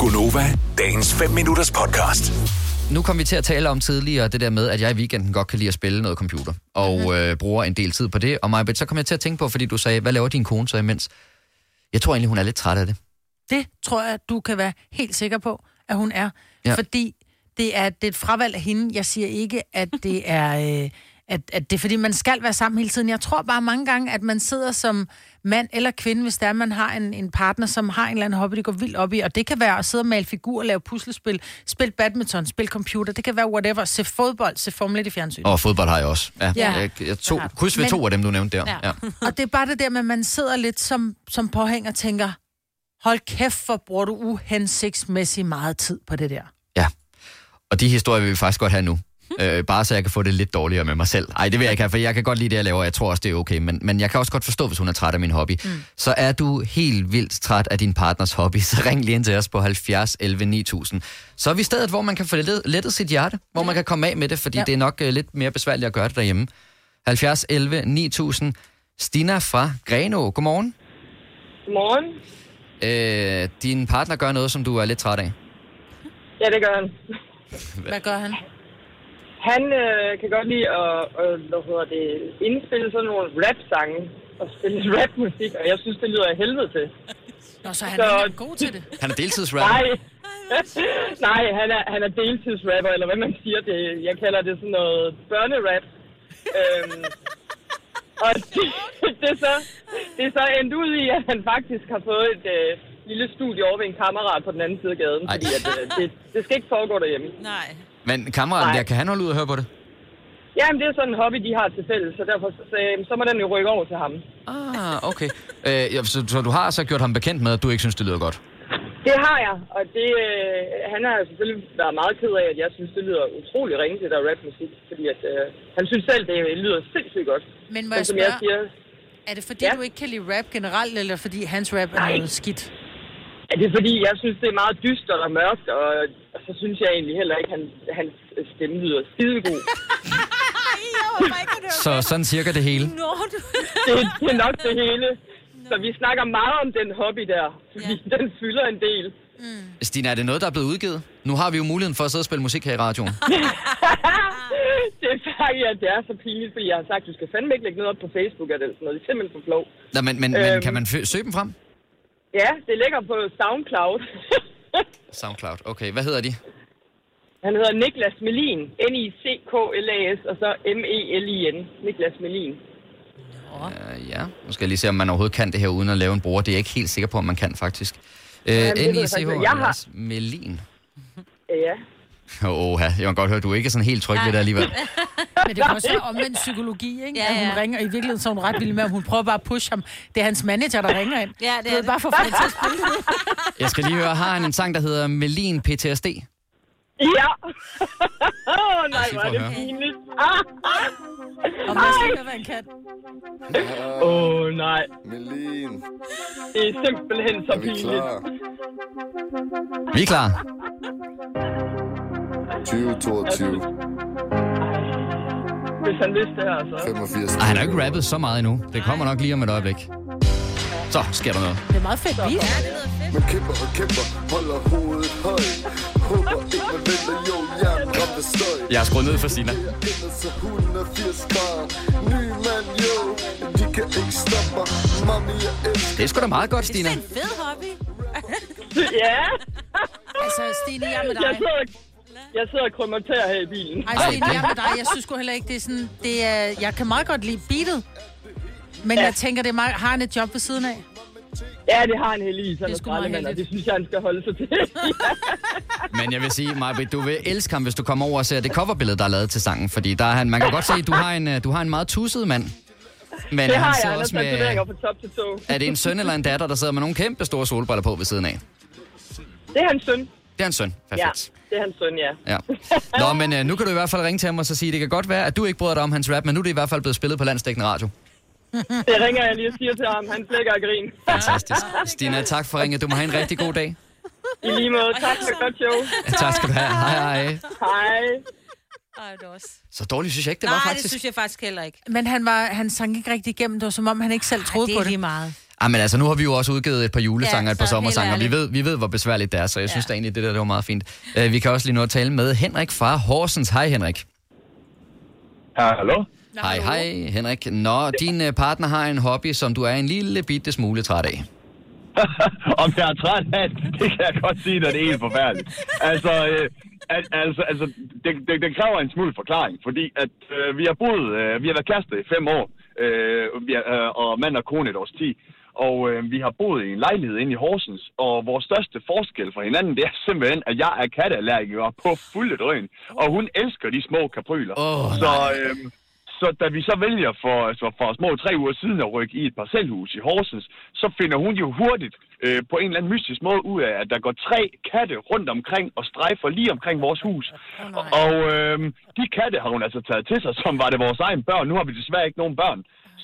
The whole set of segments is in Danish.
Gunova, dagens 5 minutters podcast. Nu kom vi til at tale om tidligere det der med, at jeg i weekenden godt kan lide at spille noget computer, og øh, bruger en del tid på det. Og Majbet, så kom jeg til at tænke på, fordi du sagde, hvad laver din kone så imens? Jeg tror egentlig, hun er lidt træt af det. Det tror jeg, du kan være helt sikker på, at hun er. Ja. Ja. Fordi det er, det er et fravalg af hende. Jeg siger ikke, at det er... Øh, at, at det er fordi, man skal være sammen hele tiden. Jeg tror bare mange gange, at man sidder som mand eller kvinde, hvis der man har en, en partner, som har en eller anden hobby, de går vildt op i. Og det kan være at sidde og male figurer, lave puslespil, spille badminton, spille computer. Det kan være whatever. Se fodbold, se Formel 1 i fjernsynet. Og fodbold har jeg også. Ja. Ja. Jeg, jeg tog, Det har du. kryds ved Men- to af dem, du nævnte der. Ja. Ja. Og det er bare det der med, at man sidder lidt som, som påhæng og tænker, hold kæft, hvor bruger du uhensigtsmæssigt meget tid på det der. Og de historier vil vi faktisk godt have nu. Øh, bare så jeg kan få det lidt dårligere med mig selv. Nej, det vil jeg ikke have, for jeg kan godt lide det, jeg laver, og jeg tror også, det er okay. Men, men jeg kan også godt forstå, hvis hun er træt af min hobby. Mm. Så er du helt vildt træt af din partners hobby, så ring lige ind til os på 70 11 9000. Så er vi stedet, hvor man kan få let- lettet sit hjerte, hvor man kan komme af med det, fordi ja. Ja. det er nok øh, lidt mere besværligt at gøre det derhjemme. 70 11 9000. Stina fra Grenå, godmorgen. Godmorgen. Øh, din partner gør noget, som du er lidt træt af. Ja, det gør han. Hvad gør han? Han øh, kan godt lide at øh, hvad hedder det, indspille sådan nogle rap-sange og spille rapmusik, og jeg synes, det lyder af helvede til. Nå, så han Så- er god til det. Han er deltidsrapper. Nej, Nej han, er, han er deltidsrapper, eller hvad man siger. Det, jeg kalder det sådan noget børnerap. øhm, og det, det, er så, det er så endt ud i, at han faktisk har fået et øh, lille studie over ved en kammerat på den anden side af gaden. Ej. Fordi at, øh, det, det skal ikke foregå derhjemme. Nej. Men kammeraten Nej. der, kan han holde ud og høre på det? Jamen, det er sådan en hobby, de har til fælles, så derfor så sagde jeg, "Jamen, så må den jo rykke over til ham. Ah, okay. Øh, ja, så, så du har så gjort ham bekendt med, at du ikke synes, det lyder godt? Det har jeg, og det, øh, han har selvfølgelig været meget ked af, at jeg synes, det lyder utrolig ringe, det der rapmusik, fordi at, øh, han synes selv, det lyder sindssygt godt. Men må Men jeg som jeg spørge, siger, er det fordi, Ja. du ikke kan lide rap generelt, eller fordi hans rap er Nej. noget skidt? er det fordi, jeg synes, det er meget dystert og mørkt, og, og så synes jeg egentlig heller ikke, at han, hans stemme lyder skidegod. Ej, jeg håber ikke, at det Så sådan cirka det hele. Nå, du... det, det er nok det hele. Så vi snakker meget om den hobby der, fordi ja. den fylder en del. Stina, er det noget, der er blevet udgivet? Nu har vi jo muligheden for at sidde og spille musik her i radioen. Det er faktisk, at det er så pinligt, fordi jeg har sagt, du skal fandme ikke lægge noget op på Facebook eller sådan noget. Det er simpelthen for flov. Nå, men, men, men Øhm. kan man fø- søge dem frem? Ja, det ligger på SoundCloud. Soundcloud, okay. Hvad hedder de? Han hedder Niklas Melin. N-I-C-K-L-A-S, og så E M-E-L-I-N. Niklas Melin. Uh, ja, nu skal jeg lige se, om man overhovedet kan det her uden at lave en bruger. Det er jeg ikke helt sikker på, om man kan faktisk. Uh, det ved jeg n i faktisk c ikke. Jeg har- h Melin. Ja. Åh, jeg kan godt høre, du er ikke sådan helt tryg ved det alligevel. Men det kan også være omvendt psykologi, ikke? Ja, Ja, ja. At hun ja. ringer, og i virkeligheden så er hun ret vild med, at hun prøver bare at pushe ham. Det er hans manager, der ringer ind. Ja, det Du er ved, det. Bare for fanden til at spille. Jeg skal lige høre, har han en sang, der hedder Melin PTSD? Ja. Åh, nej, se, prøv hvor er at det høre. pinligt. Ah, Og måske hvad han kan. Åh, oh, nej. Melin, Det er simpelthen så er vi pinligt. klar? Vi er klar. 2022, Hvis han vidste det her, så... 85. Ej, han har jo ikke rappet så meget endnu. Det kommer nok lige om et øjeblik. Så sker der noget. Det er meget fedt beat. Man kæmper og kæmper, holder hovedet højt. Håber ikke, man venter, jo, jeg er ramt af støj. Jeg har skruet ned for Sina. Ender så 180 grader. Ny mand, jo, de kan ikke stoppe mig. Mami, jeg elsker. Det er sgu da meget godt, Stina. Det er en fed hobby. Ja, Altså, Stine, jeg er med jeg dig. sidder, jeg sidder og krømmer tæer her i bilen. Ej, Stine, jeg er med dig. Jeg synes sgu heller ikke, det er sådan... Det er, jeg kan meget godt lide beatet. Men jeg tænker, det er meget, har han et job ved siden af? Ja, det har han heldigvis. Han Det er er sgu meget skraldemand, og heldigt. det synes jeg, han skal holde sig til. Men jeg vil sige, Marbet, du vil elske ham, hvis du kommer over og ser det coverbillede, der er lavet til sangen. Fordi der er han, man kan godt se, at du har en, øh, du har en meget tusset mand. Men det har han jeg. sidder Han har også med... tatoveringer fra top til tog. Er det en søn eller en datter, der sidder med nogle kæmpe store solbriller på ved siden af? Det er hans søn. Det er en søn. Ja, Perfekt. det er hans søn, ja. Ja. Nå, men øh, nu kan du i hvert fald ringe til ham og så sige, det kan godt være, at du ikke bryder dig om hans rap, men nu er det i hvert fald blevet spillet på landstækkende radio. Det ringer jeg lige og siger til ham. Han flækker og grin. Fantastisk. Stina, tak for ringet. Du må have en rigtig god dag. I lige måde. Tak for et godt show. Ja, tak skal du have. Hej, hej. Hej. Ej, det er også... Så dårligt synes jeg ikke, det Nej, var det faktisk. synes jeg faktisk heller ikke. Men han, var, han sang ikke rigtig igennem. Det var som om, han ikke selv troede det på er det. lige meget. Ah, men altså, nu har vi jo også udgivet et par julesanger, Ja, ja, et par så helt sommersanger. Vi ærligt. ved, vi ved, hvor besværligt det er, så jeg ja. synes da egentlig, det der det var meget fint. Uh, vi kan også lige nå at tale med Henrik fra Horsens. Hej, Henrik. Hallo? Hej, hej, Henrik. Nå, din øh, partner har en hobby, som du er en lille bitte smule træt af. Om jeg er træt af det, det kan jeg godt sige, når det er helt forfærdeligt. Altså, øh, al- altså, altså det, det, det kræver en smule forklaring, fordi at øh, vi har boet, øh, vi har været kærester i fem år, øh, vi er, øh, og mand og kone et års tid. Og øh, vi har boet i en lejlighed inde i Horsens, og vores største forskel fra hinanden, det er simpelthen, at jeg er katteallergiker på fulde drøn, og hun elsker de små kapryler. Åh, så, øh, Så da vi så vælger for, altså for, for små tre uger siden at rykke i et parcelhus i Horsens, så finder hun jo hurtigt øh, på en eller anden mystisk måde ud af, at der går tre katte rundt omkring og strejfer lige omkring vores hus. Oh, og øh, de katte har hun altså taget til sig, som var det vores egen børn. Nu har vi desværre ikke nogen børn.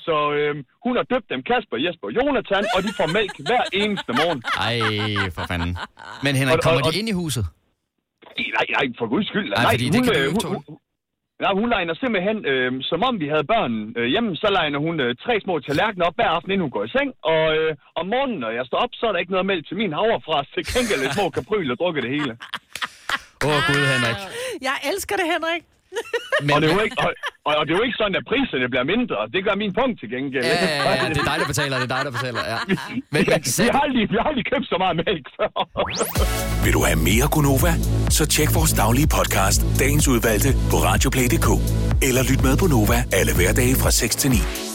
Så øh, hun har døbt dem Kasper, Jesper og Jonathan, og de får mælk hver eneste morgen. Ej, for fanden. Men Og- Henrik, og- kommer og- de ind i huset? Nej, nej, nej, for guds skyld. Ej, nej, fordi det kan øh, du jo ikke hun, tåle. hun, nej, hun legner simpelthen, øh, som om vi havde børn øh, hjemme, så legner hun øh, tre små tallerkener op hver aften, inden hun går i seng. Og øh, om morgenen, når jeg står op, så er der ikke noget mælk til min havrefras. Til gengæld lidt små kapryl og drukker det hele. Åh, oh, gud, Henrik. Jeg elsker det, Henrik. Og det, er jo ikke, og, og, og det er jo ikke sådan, at priserne bliver mindre. Det gør min punkt til gengæld. Ja, ja, ja, ja, det er dig, der betaler, det er dig, der betaler, ja. Men, men Vi selv, har, aldrig, vi har aldrig købt så meget mælk før. Vil du have mere Gunova? Så tjek vores daglige podcast, dagens udvalgte, på radioplay.dk. Eller lyt med på Nova alle hverdage fra 6 til 9.